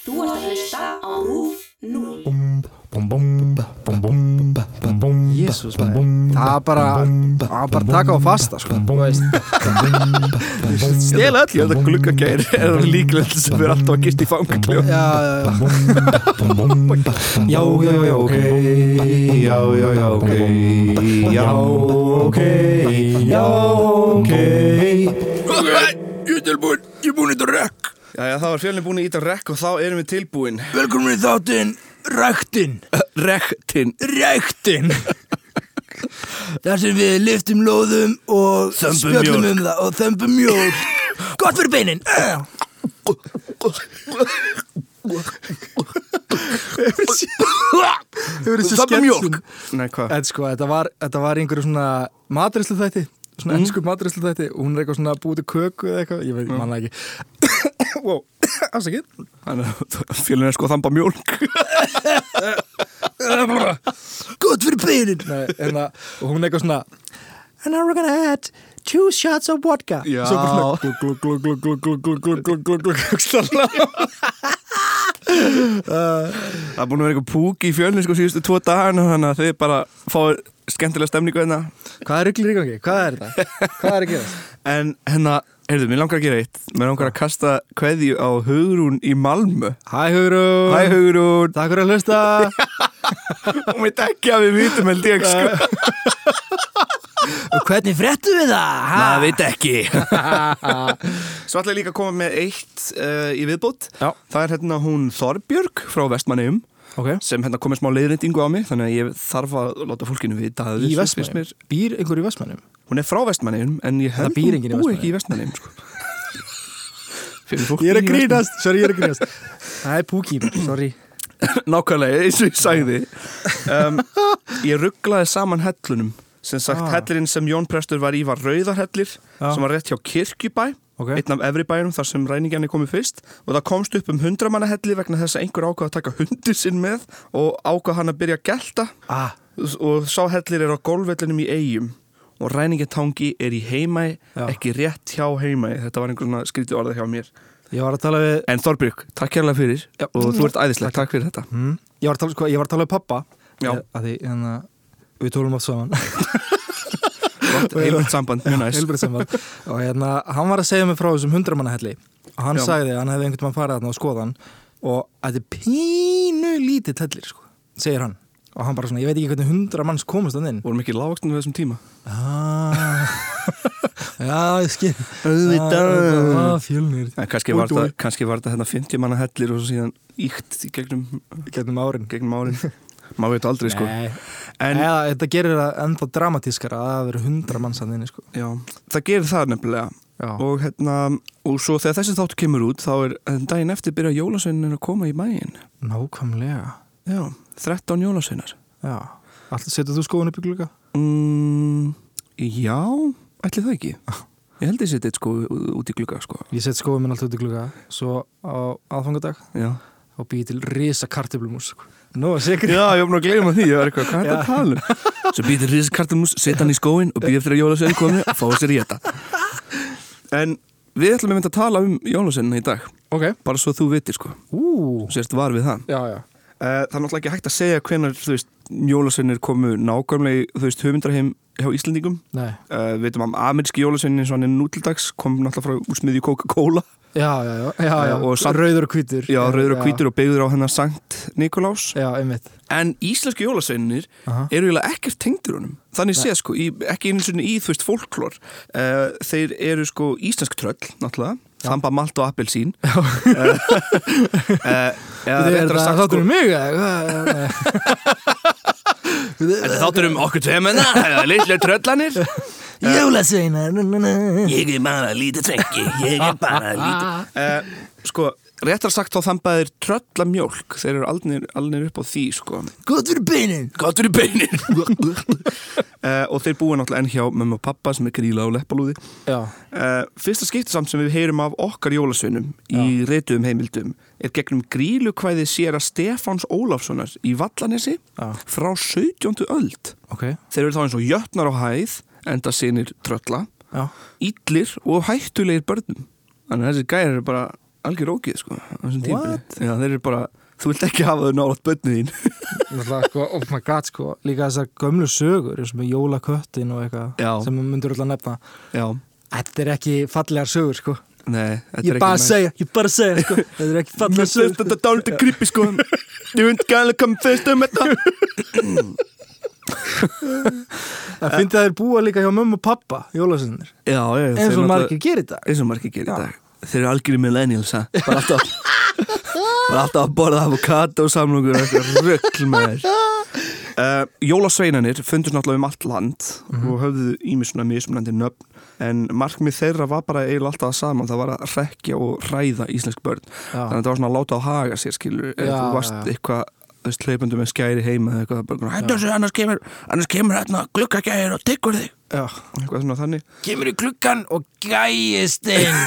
Þú ert að hlusta á RÚF 0. Jesús maður Það er bara- það er bara að taka á fasta, sko. Þú veist Stela öll, ég held að gluggageir er líklegt sem við erum alltaf að gist í fangakljóð Já, já, já. Já, já, já, ok Já, já, já, ok Já, ok Já, ok Ég er tilbúin, ég er búin þetta rekk Jæja, þá er fjölinn búin að íta rekk og þá erum við tilbúin. Velkomin í þáttinn Ræktinn Ræktinn Ræktinn Þar sem við liftum lóðum og spjöllum um það og þömbum mjólk Gott fyrir beinin Hefur þessi sketsum- Nei, hvað? En sko, þetta var, þetta var einhverju svona matrislu þætti Svona ennsku matrislu þætti Og hún er eitthvað svona búið til köku eða eitthvað Ég veit, manna ekki Wow, afsakið Fjölinn er sko að þamba mjólk Gott fyrir beinin Nei, en að, og hún er eitthvað svona And now we're gonna add two shots of vodka Já. Svo bara svona glug, glug, glug, glug, glug, glug, glug, glug, glug, glug, glug, hugsanlega. Það er búin að vera eitthvað púk í fjölinn sko síðustu tvo dagana þannig að þið bara fáið skemmtilega stemningu hérna Hvað er rugglir í gangi? Hvað er þetta? Hvað er að gera? En hérna, heyrðu, mér langar að gera eitt Mér langar að kasta kveðju á Hugrún í Malmö Hæ Hugrún Hæ Hugrún Takk fyrir að hlusta Hún veit ekki að við vitum held ég sko Nei, Og hvernig frettum við það? það veit ekki Svo ætla ég líka að koma með eitt uh, í viðbót Já. Það er hérna hún Þorbjörg frá Vestmanneum Ok sem hérna komið smá leiðrendingu á mig þannig að ég þarf að láta fólkinu vita að Í þessu finnst Vestmannum? mér- Býr einhver í Vestmannum? Hún er frá Vestmanneum en ég Það held býr hún enginn í búi ekki í Vestmanneum sko. Fyrir fólk Ég er í að Vestmannaeyjum. grínast, sorry ég er að grínast Það er púki, sorry Nákvæmlega, eins og ég sagði um, Ég rugglaði saman hellunum sem sagt Ah. hellurinn sem Jón Prestur var í var Rauðarhellir Já. sem var rétt hjá Kirkjubæ Ok. einn af efri bæjunum þar sem ræningjarni komið fyrst og það komst upp um hundramanna helli vegna þess að einhver ákvað að taka hundur sinn með og ákvað hann að byrja að gelta Ah, og sá hellir er á golfvellinum í eigum og ræningjartangi er í heimæ Já. ekki rétt hjá heimæ þetta var einhver svona skrítið orðið hjá mér ég var að tala við En Þorbjörg, takk kærlega fyrir Já. og þú ert æðislega, takk fyrir þetta Mm. Ég var að tala, sko, ég var að tala við pappa Hmm? Já. Ég- að því, en að við tólum oft saman Gott, Heilmönd samband, mjög næs Heilbrigt saman. og hérna, hann var að segja mig frá þessum hundramannahelli og hann Já. sagði að hann hefði einhvern veginn farið þarna og skoða hann og að þetta er pínu lítill hellir, sko, segir hann og hann bara svona, ég veit ekki hvernig hundra manns komast hann inn vorum ekki lágvaksnir við þessum tíma ah, Já, ég skil Auðvitað. Ah, Fjölnir en kannski var þetta kannski var þetta hérna 50 manna hellir og svo síðan íkt í gegnum, Gennum árin gegnum árin maður veit aldrei sko Nei, en Eða, þetta gerir það ennþá dramatískara að það verður hundra manns hann inn, sko já, það gerir það nefnilega Já. og hérna og svo þegar þessi þáttu kemur út þá er en daginn eftir byrja jólasveinin að koma í bæinn Nákvæmlega já, 13 jólasveinar Já, alltaf setur þú skóin upp í glugga? mm, já, ætli það ekki ég held ég seti þetta sko út í glugga sko Ég set skóin minn alltaf út í glugga Svo á aðfangadag já og býði til risa kartöflumús sko. Nú, sikrið Já, ég var bara að gleyma því, ég var eitthvað, hvað er þetta að tala um? Svo býðir riskartumús, setja hann í skóin og býðir eftir að jólasvein komi og fá sér í þetta. En við ætlum einmitt að tala um jólasveinina í dag, Ok bara svo þú vitir sko, Ú, sérst var við það. já, já Eh, Það er náttúrulega ekki hægt að segja hvenar, þú veist, jólasveinir komu nákvæmlega, í, þú veist, höfundraheim hjá Íslendingum. Nei, Uh, við veitum að ameríski jólasveinin eins og hann er nútildags kom náttúrulega frá úrsmiðju Coca-Cola já, já, já, já, já. Eh, og samt- Rauður og hvítur Já, rauður og hvítur og byggður á hennar Sankt Nikolás Já, einmitt En íslenski jólasveinir Aha. eru eiginlega ekkert tengdur honum þannig séð sko, í, ekki einu svona í þú veist fólklór uh, þeir eru sko íslensk tröll náttúrulega, þamba malt og appelsín uh, ja, eða Þetta er réttar það að sagt þáttur sko um mig eða? Hvað, nei. Þetta er þáttur um okkur tveimena litlu tröllanir Jólasveinar na, na, na. Ég er bara lítið tvengi Ég er bara lítið uh, Sko, réttar sagt þá þambaðir tröllamjólk þeir eru alnir, alnir upp á því sko Gott fyrir beinin Gott fyrir beinin uh, Og þeir búa náttúrulega enn hjá mömmu og pappa sem er gríla og leppalúði Já, Uh, fyrsta skipti samt sem við heyrum af okkar jólasveinum í reytuðum heimildum er gegnum grílukvæði sér að Stefáns Ólafssonar í Vallanesi Já. frá 17. öld. ok Þeir eru þá eins og jötnar á hæð, enda sinir trölla, Já, illir og hættulegir börnum. Þannig að þessi gæri eru bara algjör ógið sko á þessum tímpili. Já, þeir eru bara, þú vilt ekki hafa þau nálat bönnið þín Náttúrulega, sko, oh my god, sko, líka þessar gömlu sögur, eins og með jólaköttin og eitthvað, Já. sem maður myndur alltaf að nefna. Já, Þetta er ekki fallegar sögur, sko. nei, þetta Ég bara að segja, ég bara að segja, sko. Þetta er ekki Mér fallegar finnst sögur. þetta dálítið creepy sko Ég veit ekki alveg hvað mér finnst um þetta Það finnst að þeir búa líka hjá mömmu og pappa, jólasöðunir. Já, já, já Eins þeir og náttúrulega- margir gerir í dag. eins og margir gerir í dag þeir eru algjörði millennials ha? bara alltaf bara alltaf að borða avokado samlungur og eitthvað röggl með þér uh, Jólasveinanir fundust náttúrulega um allt land Mhm. og höfðu ími svona mismunandi nöfn en markmið þeirra var bara eiginlega alltaf að saman það var að rekja og hræða íslensk börn Já. þannig að það var svona að láta á haga sér skilur eða Já, þú varst já. eitthvað þú veist, hleypundu með skæri heima eða eitthvað bara, hættu þessu, annars "Hérna, kemur, annars kemur hérna gluggagæðir og tyggur þig Já. eitthvað svona þannig Kemur í klukkan og gæist inn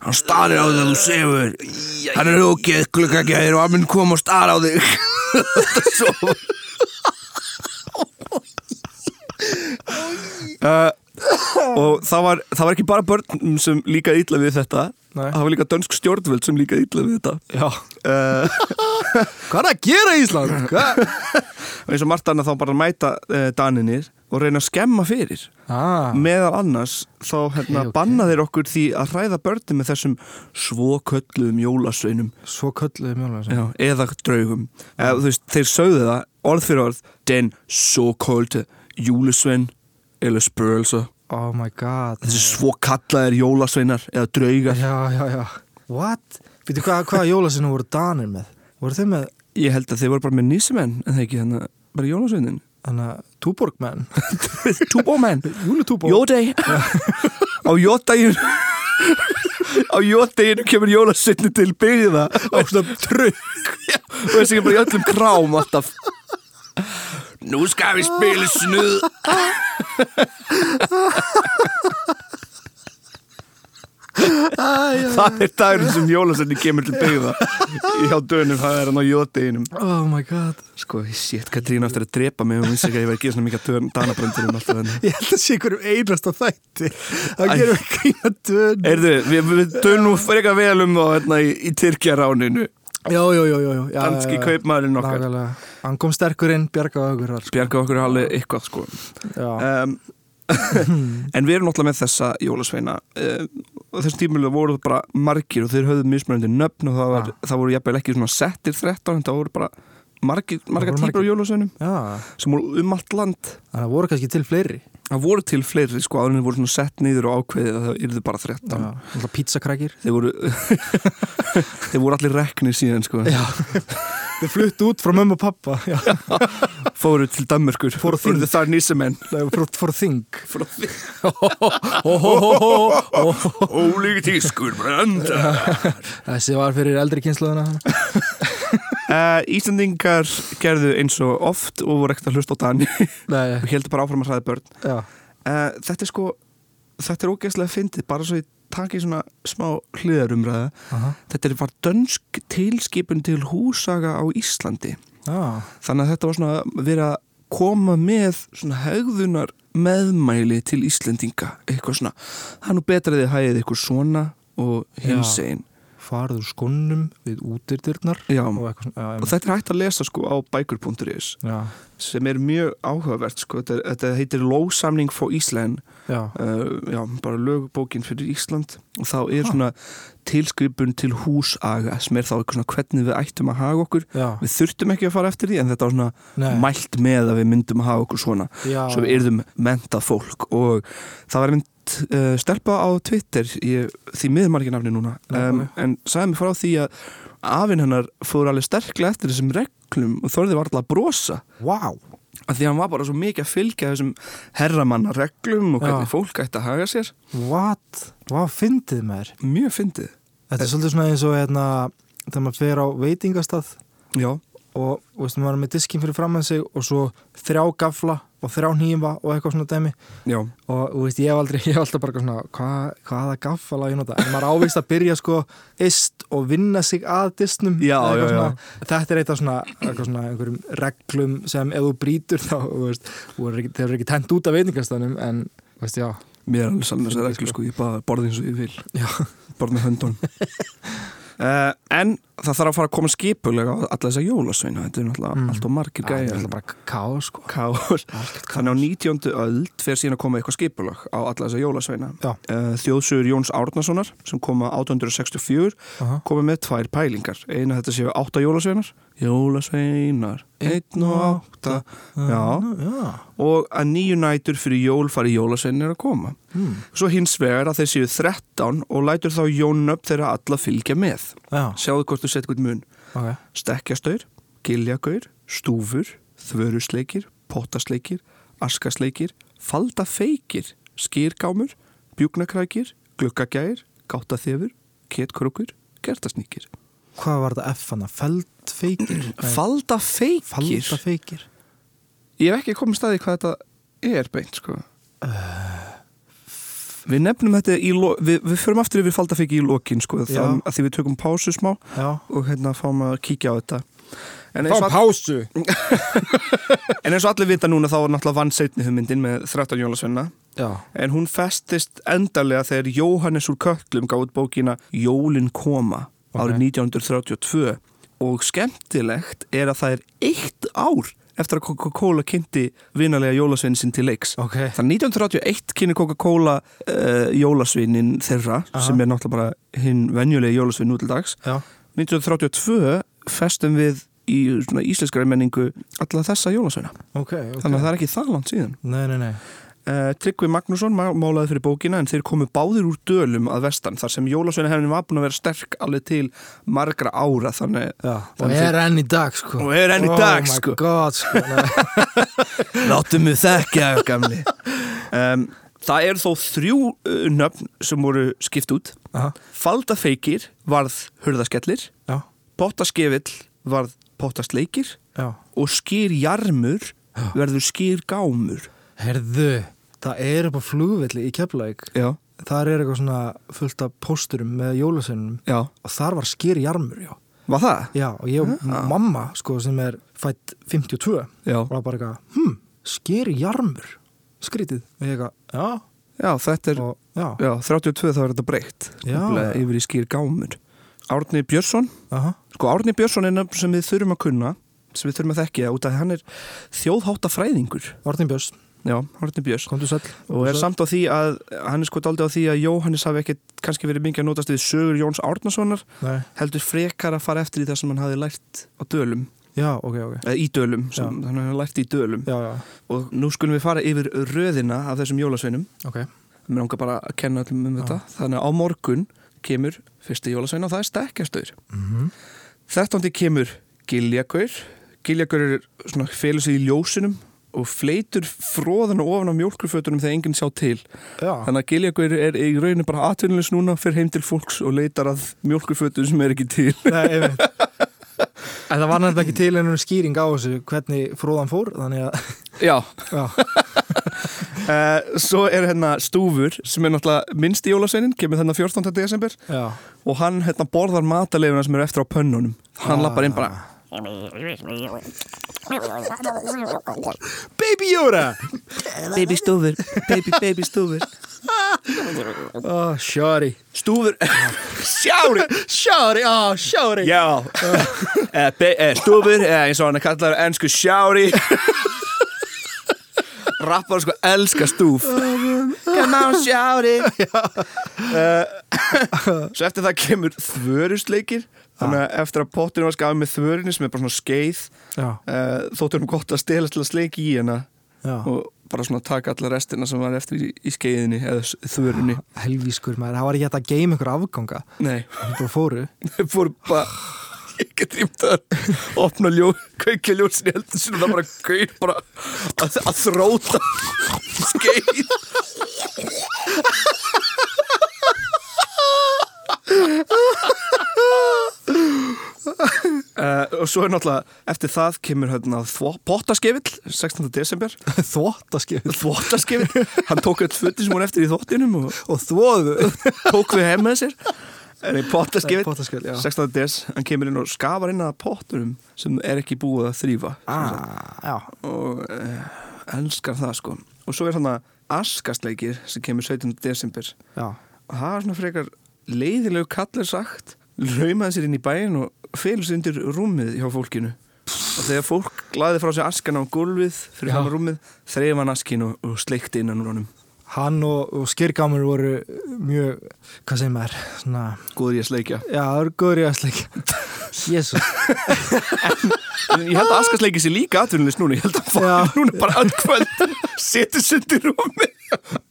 Hann starir á þig að þú sefur Hann er ógeð gluggagæðir og hann mun koma og stara á þig uh, Og það var, það var ekki bara börn sem líka illa við þetta Nei. Það var líka dönsk stjórnvöld sem líka illa við þetta Já. uh, Hvað er að gera í Ísland? Hvað? Eins og margt annað þá bara mæta uh, daninir og reyna að skemma fyrir Ah, meðal annars þá hérna, ok. banna þeir okkur því að hræða börnum með þessum svokölluðum jólasveinum svo kölluðu mjólasöður. Já, eða draugum eða, þú veist, þeir sögðu það, orð fyrir orð den so-called júlusvein eller spörelsa Oh my god. þessi svo kallaðir jólasveinar eða draugar Já, já, já. What? Býtu hvað, hvað jólasöðunum voru danir með? Voru þeir með, ég held að þeir voru bara með nýsimenn en það ekki, þannig að bara jólasveinin þannig að, túborgmenn? túbómenn, Júlutúborg? jódei á jódegin á jódeginu kemur jólasveinu til byggða Á svona trökk. og þessi er bara í öllum krám alltaf nú skal við spila snuð það er dagurinn sem jólasenni kemur til byggða hjá dönum, það er hann á jóteginum Oh my god. sko, shit, Katrín áttur að drepa mig og vissi ekki að ég verði að gera svona mikið dön, danabrendurum alltaf henni Ég held að sé einhverjum einrast á þætti. Það Æ. gerum við grína dön. Heyrðu, við, við dönum frekar vel um þá hérna í, í Tyrkjaráninu Já, já, já, já. já, já danski kaupmaðurinn okkar Nákvæmlega. Hann kom sterkurinn, bjargaði okkur. þar, Sko. bjarga okkur alveg eitthvað sko Já. um, en við erum náttúrulega með þessa jólasveina um, og þessum tímulega voru það bara margir og þeir höfðu mismunandi nöfn og það, var, það voru jafnvel ekki svona settir 13 en það voru bara margir, margar voru típur af margir. jólasveinum já. sem voru um allt land Þannig að voru kannski til fleiri. það voru til fleiri sko áður en þeir voru svona sett niður og ákveðið að það yrðu bara 13 Alltaf pizzakrækir. þeir voru þeir voru allir reknir síðan sko Já. Þau fluttu út frá mömmu og pappa. Já. fóru til Danmörkur fóru þing. þar nýsemenn For, for thing. ólík tískur brenda Þessi var fyrir eldri kynslaðuna. Uh, Íslandingar gerðu eins og oft og voru ekkert að hlusta á Dani og Nei, heldur bara áfram að hræða börn já. uh, Þetta er sko, þetta er ógeðslega fyndið bara svo ég taki svona smá hliðarumræða Aha. Þetta er- var dönsk tilskipun til húsaga á Íslandi Já. þannig að þetta var svona að vera að koma með svona hegðunar meðmæli til Íslandinga eitthvað svona, það er nú betra að þið hæðið eitthvað svona og hinsegin Farður skonnum við útirdyrnar. Já. Og eitthvað svona. Já, og þetta er hægt að lesa sko á bækur.is já. sem er mjög áhugavert sko. þetta, er- þetta heitir Lóðsamling for Ísland Já. uh, já, bara lögbókin fyrir Ísland og þá er svona tilskripun til húsaga sem er þá eitthvað svona hvernig við ættum að haga okkur Já. við þurftum ekki að fara eftir því en þetta var svona Nei. mælt með að við myndum að haga okkur svona Já. svo við yrðum mentað fólk og það var mynd uh, stelpa á Twitter ég, því miðmargin afni núna Nei, um, ok. en sagði mig frá því að afinn hennar fór alveg sterklega eftir þessum reglum og þorði var alltaf að brosa Wow. að því að hann var bara svo mikið að fylgja þessum herramanna reglum og hvernig Já. fólk ætti að haga sér What? Hvað fyndið maður? mjög fyndið Þetta er svolítið svona eins og hérna, þegar maður fer á veitingastað já, og þú veist, maður er með diskinn fyrir fram að sig og svo þrjá gafla og þrjá nýjumba og eitthvað svona dæmi já, og þú veist, ég hef aldrei, ég hef alltaf bara eitthvað svona hva, hvaða gafla ég nota en maður ávist að byrja sko ist og vinna sig að disnum Já, eða eitthvað já, já. svona, þetta er eitthvað svona, eitthvað svona einhverjum reglum sem ef þú brýtur þá þú veist, þú er ekki- þeir eru ekki tent út af veitingastanum en þú veist, já, Mér er alveg saman þessar reglu sko, ég bara borði eins og ég vil Já. Borði með höndun uh, En það þarf að fara að koma skipulega á alla þessar jólasveina Þetta er náttúrulega mm. allt og margir Það er gæja alltaf bara káð sko Káos Þannig á 19. öld fer síðan að koma eitthvað skipulag á alla þessar jólasveina Já. uh, Þjóðsugur Jóns Árnasonar sem koma 1864 Aha. komið með tvær pælingar eina þetta séu átta jólasveinar jólasveinar, einn og átta já, Já, og að nýju nætur fyrir jól fari jólasveinar að koma svo hins vegar að þeir séu 13 og lætur þá jón upp þeirra alla fylgja með já, sjáðu hvort þú sett hvern mun ok stekkjastaur, giljagaur, stúfur þvörusleikir, pottasleikir askasleikir, faldafeikir skýrgámur, bjúknakrækir glukkagæir, gáttaþefur ketkrókur, gertasníkir Hvað var þetta F hana? Feldfeikir? Faldafeikir Faldafeikir Ég hef ekki komið staði hvað þetta er beint sko. Við nefnum þetta í lo... við, við förum aftur yfir faldafeiki í lokin sko, Já. þann, að því við tökum pásu smá Já og hérna fáum að kíkja á þetta En eins, Fá og, all- pásu en eins og allir vita núna þá var náttúrulega vann setni hugmyndin með 13 jólasvenna Já en hún festist endarlega þegar Jóhannes úr Köllum gáði bókina Jólin koma árið 1932 og skemmtilegt er að það er eitt ár eftir að Coca-Cola kynnti vinalega jólasveinin sinn til leiks. Ok. Þannig 1931 kynni Coca-Cola uh, jólasveinin þeirra sem er náttúrulega bara hinn venjulegi jólasvein nú til dags. Já 1932 festum við í svona íslenskari menningu alla þessa jólasveina. Ok, ok Þannig að það er ekki það langt síðan. Nei, nei, nei Uh, Tryggvi Magnússon má- málaði fyrir bókina en þeir komu báðir úr dölum að vestan þar sem jólasveina hefnum var búin að vera sterk alveg til margra ára þannig, Já Og þannig er enn í dag sko Og er enn í dag, Oh sko. my god sko Nei. þeir láttu mig þekkja gamli um, Það eru þó þrjú uh, nöfn sem voru skipt út Aha, Faldafeikir varð hurðaskellir Já Pottaskefil varð pottasleikir Já og skýrjarmur verður skýrgámur Herðu Það er upp á flugvelli í Keflavík Já, Þar er eitthvað svona fullt af pósturum með jólasennum já, og þar var skýri jarmur, já var það? Já, og ég og mamma, sko, sem er fætt 52 Já, og var bara eitthvað, hm, skýri jarmur skrítið, og ég eitthvað, já já þetta er og já, Já, 32 þá er þetta Já. breytt Nefnilega yfir í skýr gámur Árni Björnsson aha, Sko, Árni Björnsson er nefn sem við þurfum að kunna sem við þurfum að þekkja út af því hann er þjóðháttafræðingur Orðin Björns Já, Árni Björns komdu sæll og er samt á því að hann er sko daldið á því að Jóhannes hafi ekkit kannski verið mingi að notast við sögur Jóns Árnasonar Nei, heldur frekar að fara eftir í það sem hann hafi lært á dölum, já, ok, ok eða í dölum sem hann hafi lært í dölum já, já, og nú skulum við fara yfir röðina af þessum jólasveinum ok Mér langar bara að kenna öllum um þetta. Þannig að á morgun kemur fyrsti jólasvein og það er stekkjastaur. Mm -hmm. 13. kemur giljagaur. Giljagaur er svona félur sig í ljósinum og fleitur fróðan ofan á mjólkurfötunum þegar enginn sjá til. já, Þannig að giljagaur er í rauninu bara atvinnulegs núna, fyrir heim til fólks og leitar að mjólkurfötunum sem er ekki til. Nei, einmitt En það var nefnilega ekki til ennum skýring á þessu hvernig fróðan fór, þannig að Já. já, Eh, svo er hérna stúfur sem er náttúrulega minnsti jólasveinin, kemur þennan 14. desember já, og hann hérna borðar matarleifuna sem eru eftir á pönnunum. Hann ah. lappar inn bara... Baby Yoda Baby stúfur, baby, baby stúfur oh, Sjári Stúfur Sjári Sjári, á, sjári Já Eh, be- eh, Stúfur, eh, eins og hann er kallar ennsku sjári Rappar sko elska stúf Come on sjári Eh, Svo eftir það kemur þvörusleikir Þannig að eftir að potturinn var skafið með þvörinni sem er bara svona skeið Já, uh, þóttur um gott að stela til að sleiki í hana já, og bara svona taka alla restina sem var eftir í, í skeiðinni eða s- þvörunni helvískur maður, það var ekki hægt að geima ykkur afganga Nei Það bara fóru Þeir fóru bara ég get rýmt að opna ljó kveikja ljósin í heldur sinni og það bara gauð bara að, að þróta skeið Uh, og svo er náttúrulega eftir það kemur hérna þvo- pottaskefil 16. desember Þvottaskjöf þvottaskefil, hann tók öll fötin sem hún eftir í þvottinum og og þvoðu tók við heim með sér en í pottaskefið, Nei, pottaskefið, já. 16. des hann kemur inn og skafar inn að potturum sem er ekki búið að þrýfa ah, Já, og eh, elskar það sko og svo er hann að askastleikir sem kemur 17. desember Já. og það var svona frekar leiðilegu kallar sagt raumaði sér inn í bæin og felur sér undir rúmið hjá fólkinu og þegar fólk laði frá sér askan á gólfið fyrir Já. hann rúmið þreif hann askin og, og sleikti innan úr honum Hann og, og skýrgámur voru mjög, hvað segir maður, svona, góður ég að sleikja já, það voru góður í aðsleik. Jésus. ég held að askasleiki sér líka atvinnulist núna ég held að fólk Já. núna bara öll kvöld seti sundi rúmið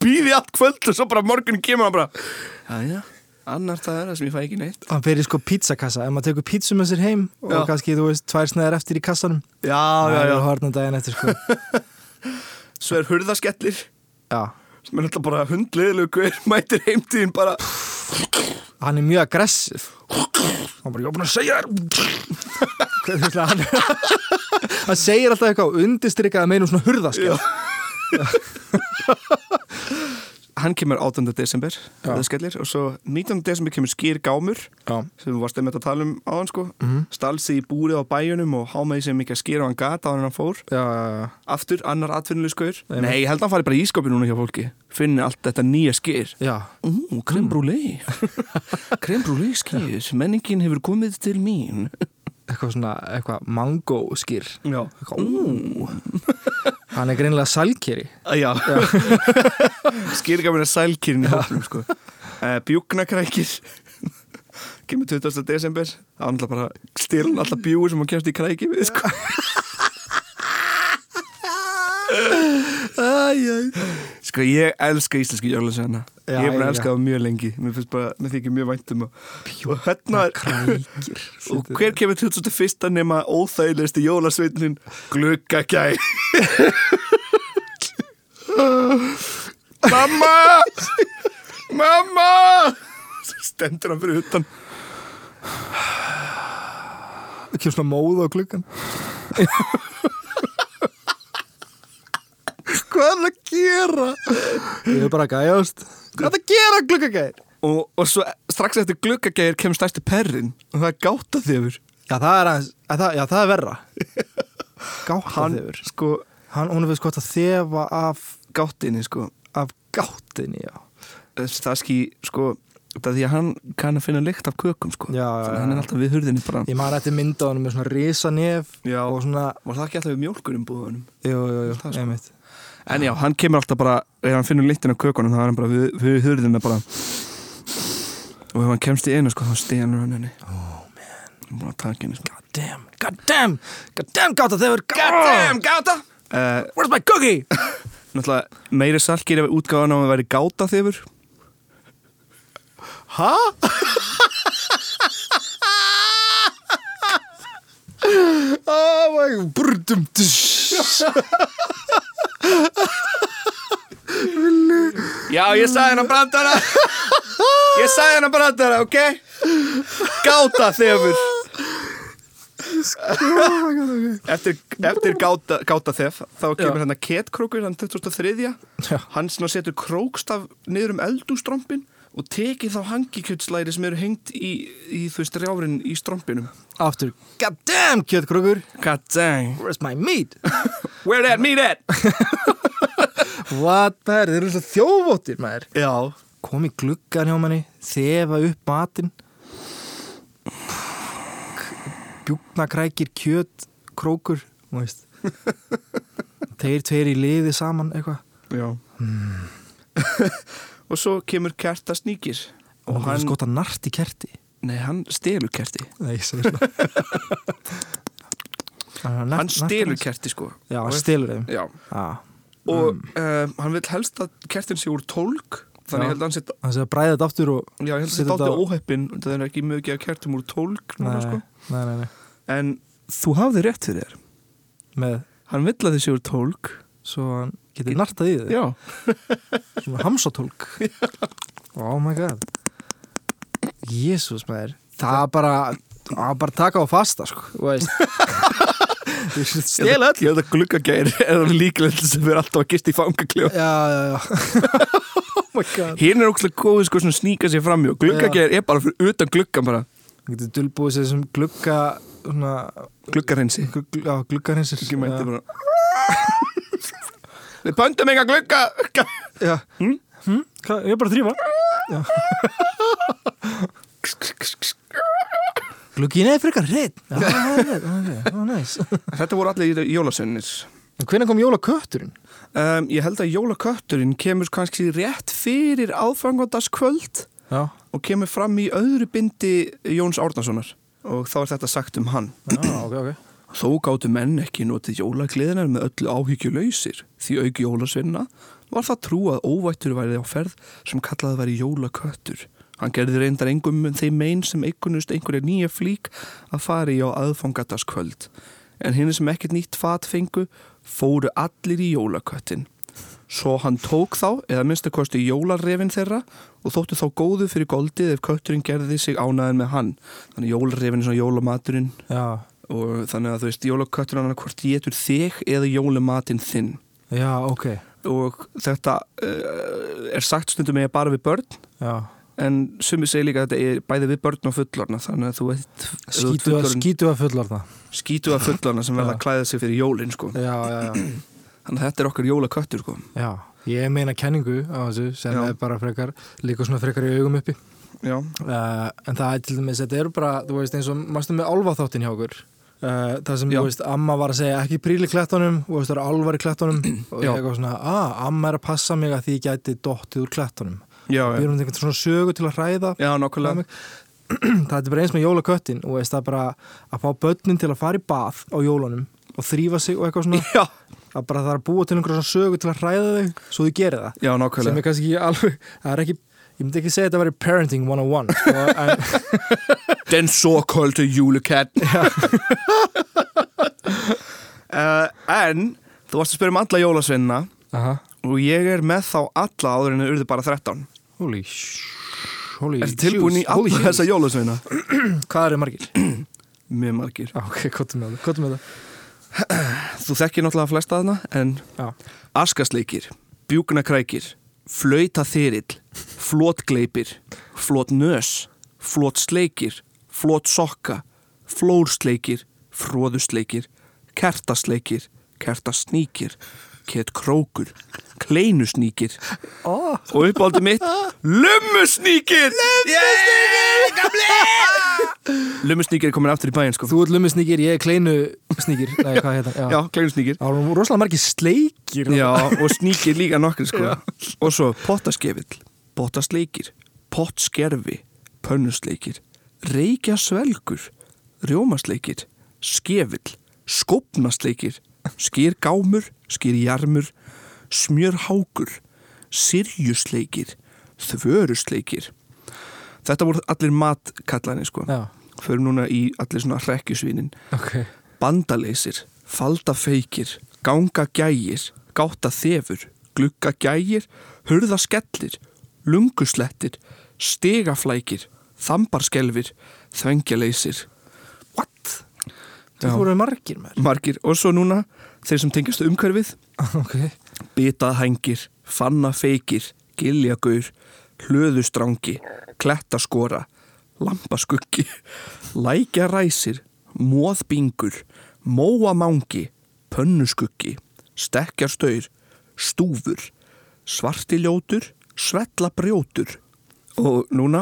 býði allt kvöld og svo bara morgun kemur hann bara já já, annar það er það sem ég fæ ekki neitt Hann fer í sko pizzakassa, ef maður tekur pizzu með sér heim og Já. kannski, þú veist, tvær snæðar eftir í kassanum. já, Það já, eru já, hornan daginn eftir, sko. svo er hurðasketlir já. sem er alltaf bara hundliðilegu hver mætir heimtíðin bara Hann er mjög aggressiv. Hann bara, ég var búin að segja þér. Hvað þú veist, hann, hann segir alltaf eitthvað og undistrykkaði með einum svona sko. hurðaskjá. hann kemur 18. desember hurðaskellir, og svo 19. desember kemur skýr gámur Já. Mhm. sem við varst einmitt að tala um áðan sko mm stalsi í búrið á bæjunum og hámaði sem mikið að skýra og hann gata á hann hann fór Já, já, já. aftur annar atvinnulegskur Nei, nei, ég held að hann fari bara í ískopi núna hjá fólki finni allt þetta nýja skýr Já, Ú, krembrúlei krembrúlei skýr, menningin hefur komið til mín eitthvað svona, eitthvað mangóskýr. já, ú Hann er greinilega salkeri. Ah, Já, skýrgamur er sælkýrin í hóflum sko. uh, Bjúknakrækir Kemur 20. desember Það var náttúrulega bara styrun alltaf bjúi sem hún kemst í kræki við sko. Sko ég elska íslensku jörlansæna Já, Ég er búin já. að elska það mjög lengi Mér finnst bara, mér þykir mjög vænt um það Og hérna Krækir. Og hver kemur 21. nema óþægilegsti jólasveitnin Gluggagæ Mamma Mamma Stendur hann fyrir utan Kjör svona móð á klukkan. Hvað er hann að gera? Ég er bara að gæjast. Hvað er það að gera klukkagæðir? Og, og svo strax eftir gluggagæir kemur stærsti perrin Og það er gáta þefur Já, það er, aðeins, að, það, já, það er verra. Gáta Hann, þefur. sko, Hann, hún er veist hvort að þefa af, gátinni, sko af gátinni, já. Það ský, sko Það er því að hann kann að finna lykt af kökum, sko Já, já, já. Þannig að hann er alltaf við hurðinni bara Ég maður eftir mynda honum með svona risanef Já. og svona, Var það ekki alltaf við mjólkurum búðunum? jú, jú, jú, Það er sko. einmitt. En já, hann kemur alltaf bara, ef hann finnur litin á kökunum, þá er hann bara við, við hurðina bara Og ef hann kemst í einu, sko, þá stíðanur hann henni Oh, man Hann er búin að taka henni, sko God damn, god damn, god damn gáta þefur, god damn, gáta! Uh, where's my cookie? náttúrulega, meiri salkir ef útgáðan á að væri gáta þefur Ha? oh my, brudum, Já, ég sagði hann að branda hana Ég sagði hann að branda hana, ok? Gáta þefur Eftir, eftir gáta, gáta þef þá kemur Já. hann að ketkrókur hann 23. Já. hann svona setur krókstaf niður um eldústrompin og tekið þá hangikjötslæri sem eru hengt í, í þú veist rjáfrin í strompinum Aftur, god damn, kjötkrugur, God dang where's my meat? Where that meat at? What, maður, þeir eru svo þjófóttir, maður. Já Kom í gluggan hjá manni, þefa upp matinn. Bjúknakrækir, kjöt, krókur, þú veist. Þeir tveir í liði saman, eitthvað. Já Og svo kemur kerta sníkir Og hann skota nart í kerti. Nei, hann stelur kerti Nei, ég segir það. Hann, Hann stelur kerti sko Já, hann stelur þeim. Já Já. Og um, hann vil helst að kertin sé úr tólk Þannig Já. ég held að hann setja Hann sé að bræða þetta aftur og... Já, ég held að setja þetta þetta á- átti óheppin Það er ekki mjög ekki að kertum úr tólk núna, Nei, sko. nei, nei, nei. En þú hafði rétt fyrir þér Með, Hann vill að þið sé úr tólk svo hann getur nartað í þau. Já Svona hamsatólk Oh my god Jésús maður Það er bara Það er bara að taka á fasta sko þú veist. Stela öll Ég held að gluggagæri er það líklega sem er alltaf að gist í fangakljó Já, já, já Oh my god Hinn er ógstlega góð sko svona sníka sér framjó Gluggagæri er bara fyrir utan gluggan bara Það getur dulbúið sér sem glugga svona, Gluggareinsi glugg, Já, gluggar hinsir Ekki mætti bara Við pöntum enga glugga já, Hmm? Hvað, ég er bara að þrýfa glugginn er frekar hreitt já, það er hreitt, ok, það er næs Þetta voru allir jólasveinir hvernig kom jólakötturinn? um, Ég held að jólakötturinn kemur kannski rétt fyrir aðfangandaskvöld já, og kemur fram í öðru bindi Jóns Árnasonar og þá er þetta sagt um hann já, ok, ok Þó gáttu menn ekki notið jólagleðinar með öllu áhyggjulausir því auki jólasvinna var það trú að óvættur væri á ferð sem kallaði væri jólaköttur. Hann gerði reyndar engum þeim megin sem eikunust einhverja nýja flík að fari á aðfangataskvöld. En hinn sem ekkert nýtt fat fengu fóru allir í jólaköttin. Svo hann tók þá, eða minnstu kosti jólarrefin þeirra og þóttu þá góðu fyrir goldið ef kötturinn gerði sig ánæðin með hann. Þannig jólarrefin er svona jólamaturinn já, og þannig að þú veist, jólaköttur hann hvort getur þig eða jólumatinn þinn já, ok og þetta uh, er sagt stundum eða bara við börn já, en sumi segir líka að þetta er bæði við börn og fullorna þannig að þú veit ef þú ert skítu að, fullorðinn- skítu að fullorna skítuga fullorna sem verða að klæða sig fyrir jólin sko. já, já, já, þannig að þetta er okkar jólaköttur sko. já ég meina kenningu á þessu sem Já. er bara frekar, líka svona frekar í augum uppi já, uh, en það er til dæmis, þetta eru bara þú veist eins og, mástu með álfaþáttin hjá okkur uh, það sem, Já. þú veist, amma var að segja ekki príli klettunum, þú veist, það eru álvar í klettunum og ég Já. eitthvað svona, að, amma er að passa mig að því ég gæti dottið úr klettunum já, við já, erum einhvern svona sögu til að hræða já nokkulega það er bara eins með jólaköttin og veist, það er bara að fá börnin til að fara í bað á jólunum og þrýfa sig og eitthvað svona já, það er bara það er að búa til einhverja svona sögu til að hræða þau svo þau gerir það já, sem nokkulega er kannski ekki alveg, það er ekki ég myndi ekki segja að þetta væri parenting 101 sko, en den so called júlukett uh, en þú varst að spyrja um alla jólasvinna Aha. og ég er með þá alla áður en þau urðu bara 13 Holy sh- Holy Ertu tilbúin í juice, holy alla juice. þessa jólasveina? Hvað eru margir? Mjög margir Já, Ah, ok, kottum með það, kottum með það Þú þekkir náttúrulega flesta þarna en Já, Askasleikir, bjúknakrækir Flautaþyrill Flótgleipir Flótnös Flótsleikir Flótsokka Flórsleikir Fróðusleikir Kertasleikir Kertasníkir Ketkrókur Kleinusníkir Ó. Og uppáldi mitt Lummusníkir Lummusníkir Gamli Lummusníkir er komin aftur í bæinn sko þú ert lummisnýkir, ég er kleinu sníkir Nei, hvað heit það? Já, kleinusníkir Það voru rosalega margir sleikir Já, og sníkir líka nokkur sko Og svo pottaskefil, pottasleikir, pottskerfi, pönnusleikir, reykjasvelgur, rjómasleikir, skefill, skópnasleikir, skýrgámur, skýrjarmur, smjörhákur, sirjusleikir, þvörusleikir. Þetta voru allir matkallani sko. Já, Förum núna í allir svona hrekkjusvinin ok bandaleysir, faldafeikir, gangagægir, gáttaþefur, gluggagægir, hurðaskellir, lunguslettir, stigaflækir, þambarskelfir, þvengjaleysir. What? Þú Já, voru margir með margir. Og svo núna þeir sem tengjast umhverfið, Ok, bitahængir, fannafeikir, giljagaur, hlöðustrangi, klettaskora, lambaskuggi, lækjaræsir, móðbingur, móamangi, pönnuskuggi, stekkjarstaur, stúfur, svartiljótur, svellabrjótur. Og núna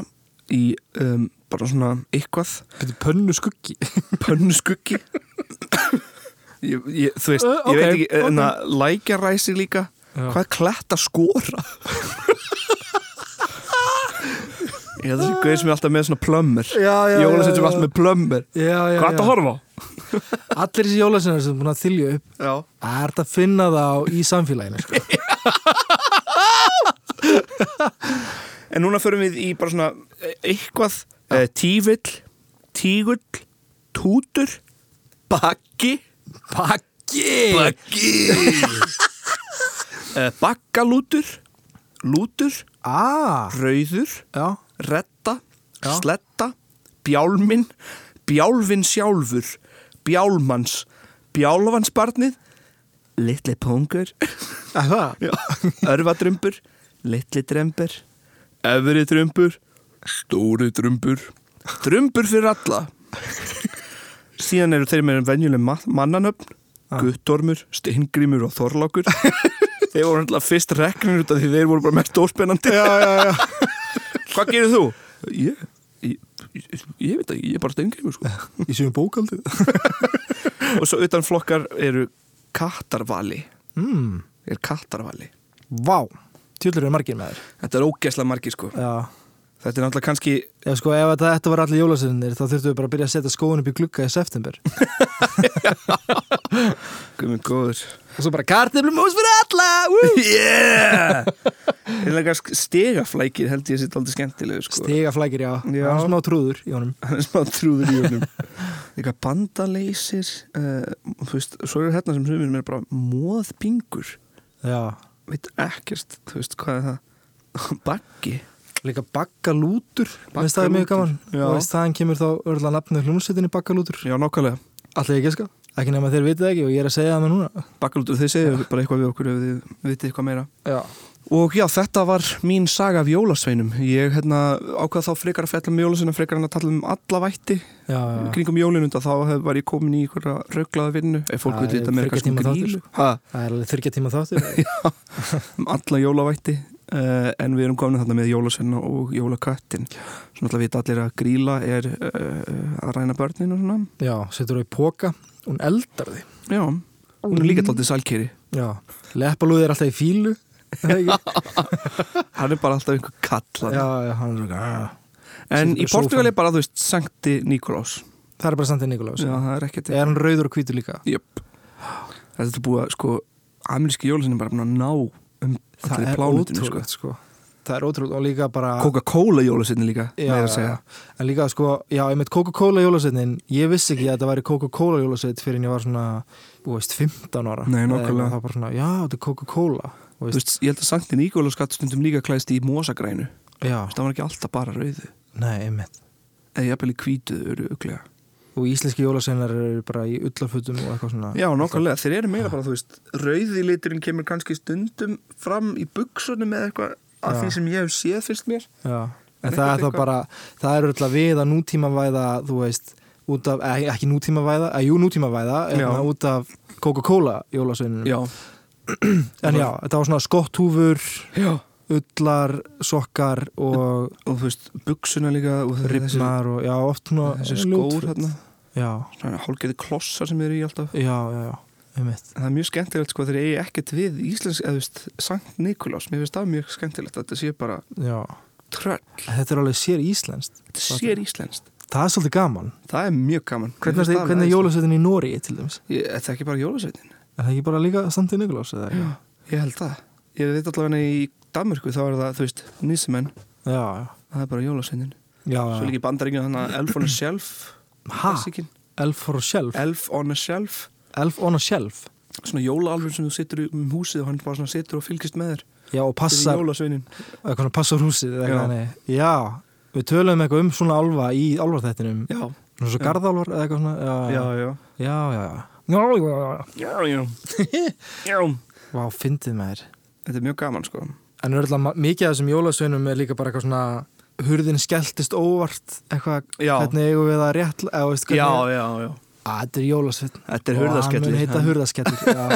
í um, bara svona eitthvað, betur pönnu skuggi pönnuskuggi. Ég, ég, þú Ö, veist, ég veit Uh, ok, ekki, ok. okay. en að lækjaræsi líka, hvað er kletta skora? ég held að þessi gauð sem er alltaf með svona plömmur. Já, já, já, Jóla já. sem er alltaf með plömmur. Já, já, Hvað er þetta að já horfa á? Allir þessi jólasinnar sem er búin að þylja upp Já. Það er þetta að finna þá í samfélaginu sko. En núna förum við í bara svona eh, eitthvað, ja. tívill, tígull, tútur, bakki, Pakki bakki, E, bakkalútur, lútur, Ah, rauður, já retta, Já. sletta, bjálmin, bjálfin sjálfur, bjálmans, bjálfansbarnið, litli pungur, Er Það örvadrumbur, litli drembur, öfri drumbur, stóri drumbur, drumbur fyrir alla. Síðan Ah. eru þeir með venjuleg ma- mannanöfn, guttormur, steingrímur og þorlákur. Þeir voru hendla fyrst reknir út af því þeir voru bara mest óspennandi já, já, já Hvað gerir þú? Ég, ég, ég, ég veit ekki, ég er bara steingrimur sko Ég séum bókaldið Og svo utan flokkar eru kattarvali mm, Er kattarvali Vá, tjúllur er margir með þér Þetta er ógeðslega margir sko Já, Þetta er náttúrulega kannski já sko ef þetta- þetta var allir jólasöfnir þá þurftum við bara að byrja að setja skóin upp í glugga í september Guðmund góður Og svo bara kartöflumús fyrir alla woo! Yeah Einlega stegaflækir held ég að þetta aldrei skemmtilegu sko Stigaflækir, já, Já. já. smá trúður í honum hann er smá trúður í honum eitthvað bandaleysir uh, þú veist, svo eru hérna sem sumir mér bara móðbingur Já, veit ekkert, þú veist, hvað er það baggi líka bakkalútur Baggalútur. Veist það er mjög gaman Já. Og veist þaðan kemur þá örla nafnið hljómsveitinni bakkalútur já, nokkulega, Allir ekki sko, ekki nema þeir vitið ekki og ég er að segja það með núna baggalútur þið segja bara eitthvað við okkur ef þið vitið eitthvað meira Já, og já, þetta var mín saga af jólasveinum ég hérna ákvað þá frekar að fjalla um jólasveina frekar en að tala um alla vætti já, já kringum jólinu, þá hef- var ég komin í einhverja rauglaða vinnu, ef fólk Það veit er þetta meira þriggja kannski Ah, tíma um þáttur, Það grílu ha, er alveg þyrkja tíma þáttur um alla jólavætti uh, en við erum komin þarna með jólasvenna og jólakattin svona alltaf vita allir að gríla er uh, að ræna börnin og svona Já, setur þú í póka, hún eldar því já, hún er Mm. líka tóttið sælkeri Já, leppalúði er alltaf í fílu er það ekki? hann er bara alltaf einhver kall Já, þarna. já, hann er svona "Ah." en Situr í í Portugal sófanum. er bara þú veist Sankti Nikolás Það er bara samt en Nikolás já, það er ekkert Er hann rauður og hvítur líka? Jöp. þetta er búið að sko ameríski jólasvenni er bara búin að ná um Það allir er plánutinu sko. ótrúlegt sko. Það er ótrúlegt og líka bara Coca-Cola jólasvenni líka meira að segja En líka sko, já, ég meitt Coca-Cola jólasveitin Ég vissi ekki að þetta væri Coca-Cola jólasveit fyrir en ég var svona, þú veist, 15 ára Nei, Eða nákvæmlega. eitthvað, Það var bara svona, já, þetta er Coca-Cola Þú Þú veist, veist, ég held að Sankti Nikolás gatt stundum líka klæðist í mosagrænu Þú já, veist, það var ekki alltaf bara rauðu nei, einmitt eða jafnvel í hvítu öruglega Og íslenski jólasveinar eru bara í ullafutum og eitthvað svona Já, nokkulega, þeir eru meira bara, þú veist rauði liturinn kemur kannski stundum fram í buksunum eða eitthvað af Já. því sem ég hef séð fyrst mér Já, en Er það er eitthvað- þá bara það er öll að við að nútímavæða þú veist, út af, eh, ekki nútímavæða að jú nútímavæða, en Já. út af Coca-Cola jólasveinunum Já, en já, þetta var svona skotthúfur já ullar, sokkar og Og þú veist, buksuna líka og þessi- ribnar og já, oft svona Þessi skór ljótföt. hérna, já, svona hálfgerði klossar sem eru í alltaf já, já, já, einmitt Það er mjög skemmtilegt sko, þeir eigi ekkert við íslensk, eða þú veist, Sankt Nikolás Mér finnst það mjög skemmtilegt, þetta sé bara já, tröll, þetta er alveg sér íslenskt þetta sér íslenskt það er svolítið gaman Það er mjög gaman hvernig, er- hvernig er jólasveitin í Nóri til dæmis, sko. Ég, þetta er ekki bara jólasveitin er það ekki bara líka Sandi Nikolás eða eitthvað? Ég held það Ég veit allavega í Danmörku þá er það, þú veist, nýsumenn já, já, Það er bara jólasveinin já, Svo já. líka í bandaríkinu þannig að Elf on a Shelf Ah. ha, klassikin. Elf for a Shelf Elf on a Shelf Elf on a Shelf Svona jólaalfur sem þú situr um húsið og hann bara svona situr og fylgist með þér Já, og Þetta passar, er jólasveinin eitthvað svona passar húsið eða Já. eitthvað þannig. Já, við töluðum eitthvað um svona álfa í álfarþættinum Já, Svona svo Já. garðálfar eða eitthvað svona Já, já, já, já já, já, já, já, já. Já, já Já Vá, fyndið maður Þetta er mjög gaman sko En örgulega mikið af þessum jólasveinum er líka bara eitthvað svona Hurðin skelltist óvart eitthvað Já. Hvernig eigum við að rétt eða, veist, hvernig, já, já Á, Þetta er jólasveinn Þetta er Og hann hurðaskellir mun heita hurðaskellir já.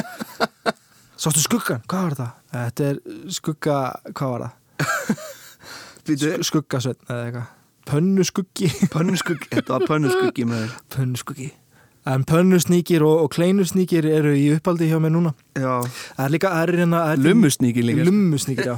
Sástu skuggan, hvað var það? Þetta er skugga, hvað var það? Býtu, Skuggasveinn eða eitthvað Pönnuskuggi pönnuskuggi Þetta var pönnuskuggi með þér Pönnuskuki En pönnusníkir og, og kleinusníkir eru í uppaldi hjá mér núna Já Það er líka, það er hérna það er- Lummusníkin líka sko. Lummusníkir, já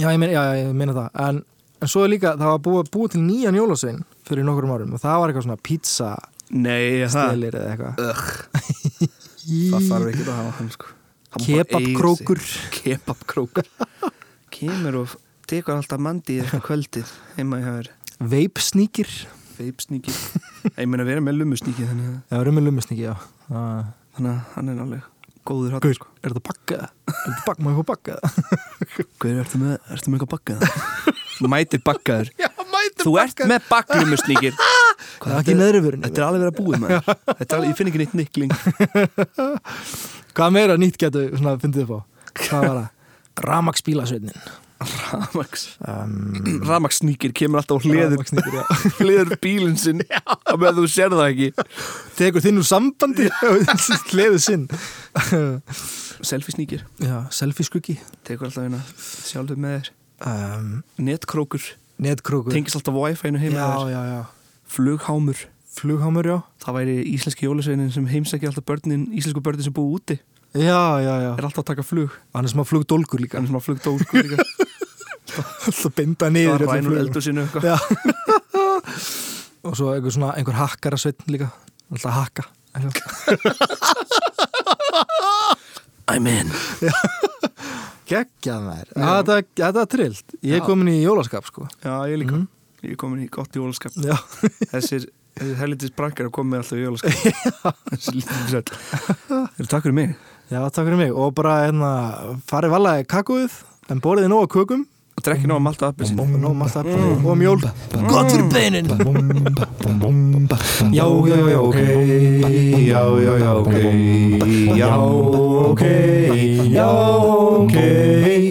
Já, ég meina, já, já, ég meina það En, en svo er líka, það var búið, búið til nýjan jólasvein fyrir nokkrum árum og það var eitthvað svona pizza Nei, það delir eða eitthvað Ugh. Það þarf ekki að hafa hann sko Hann bara Kebabkrókur. eigi sig. Kebabkrókur Kemur og tekur alltaf mandi í þetta kvöldið heima í hafur Veipsníkir Veipsníki Ég meina við erum með lumusníki þannig að, Já, rummi lummusníki, já Það- þannig að hann er alveg góður sko. hatt Gaur, er þetta bakkaða? Er þetta bakk, maður eitthvað bakkaða? Guður, ertu með, ertu með eitthvað bakkaða? Mætir bakkaður Já, mætir Þú ert með baklumusníkir Það er ekki neðri vörinu Þetta er alveg verið að búið með Þetta er alveg, ég finn ekki neitt nikling Hvað meira nýtt getur, svona, fyndið upp á? Hvað var það? Ramaksbílasveinin Ramax um, Ramaksníkir Mm. kemur alltaf og hliður Rafmagnsníkir, já. Hliður bílinn sinn Á meðan þú sér það ekki tekur þinn úr sambandi og hliður sinn selfie sníkir Já, selfie skuggi tekur alltaf hérna sjálfur með þér um, netkrókur, Netkrókur tengist alltaf wifi-inu heima Já, þér já, já flughámur, Flughámur, já það væri íslenski jólasveinin sem heimsækir alltaf börnin, íslensku börnin sem búið úti Já, já, já er alltaf að taka flug, Hann er smá flugdólgur líka hann er svona flugdólkur líka Alltaf binda það niður er öllum rænur flugum. eldur sinu eitthvað Já sko. Og svo einhver svona, einhver hakkara sveitn líka Alltaf hakka I'm in Geggjað mær Þetta þetta er trillt Ég er komin í jólaskap, sko Já, ég líka Ég er komin í gott jólaskap Já Þessir, þessir hellitis brakkar er komin með alltaf í jólaskap Þessir lítið sæll Þeir takk fyrir mig Já, takk fyrir mig Og bara, hérna, farið valega kakóið En borðið nóg af kökum Og drekki nóg malta appi sín Og nóg malt appi Og mjól Gott fyrir beinin Já, já, já, ok Já, já, já, ok Já, ok Já, ok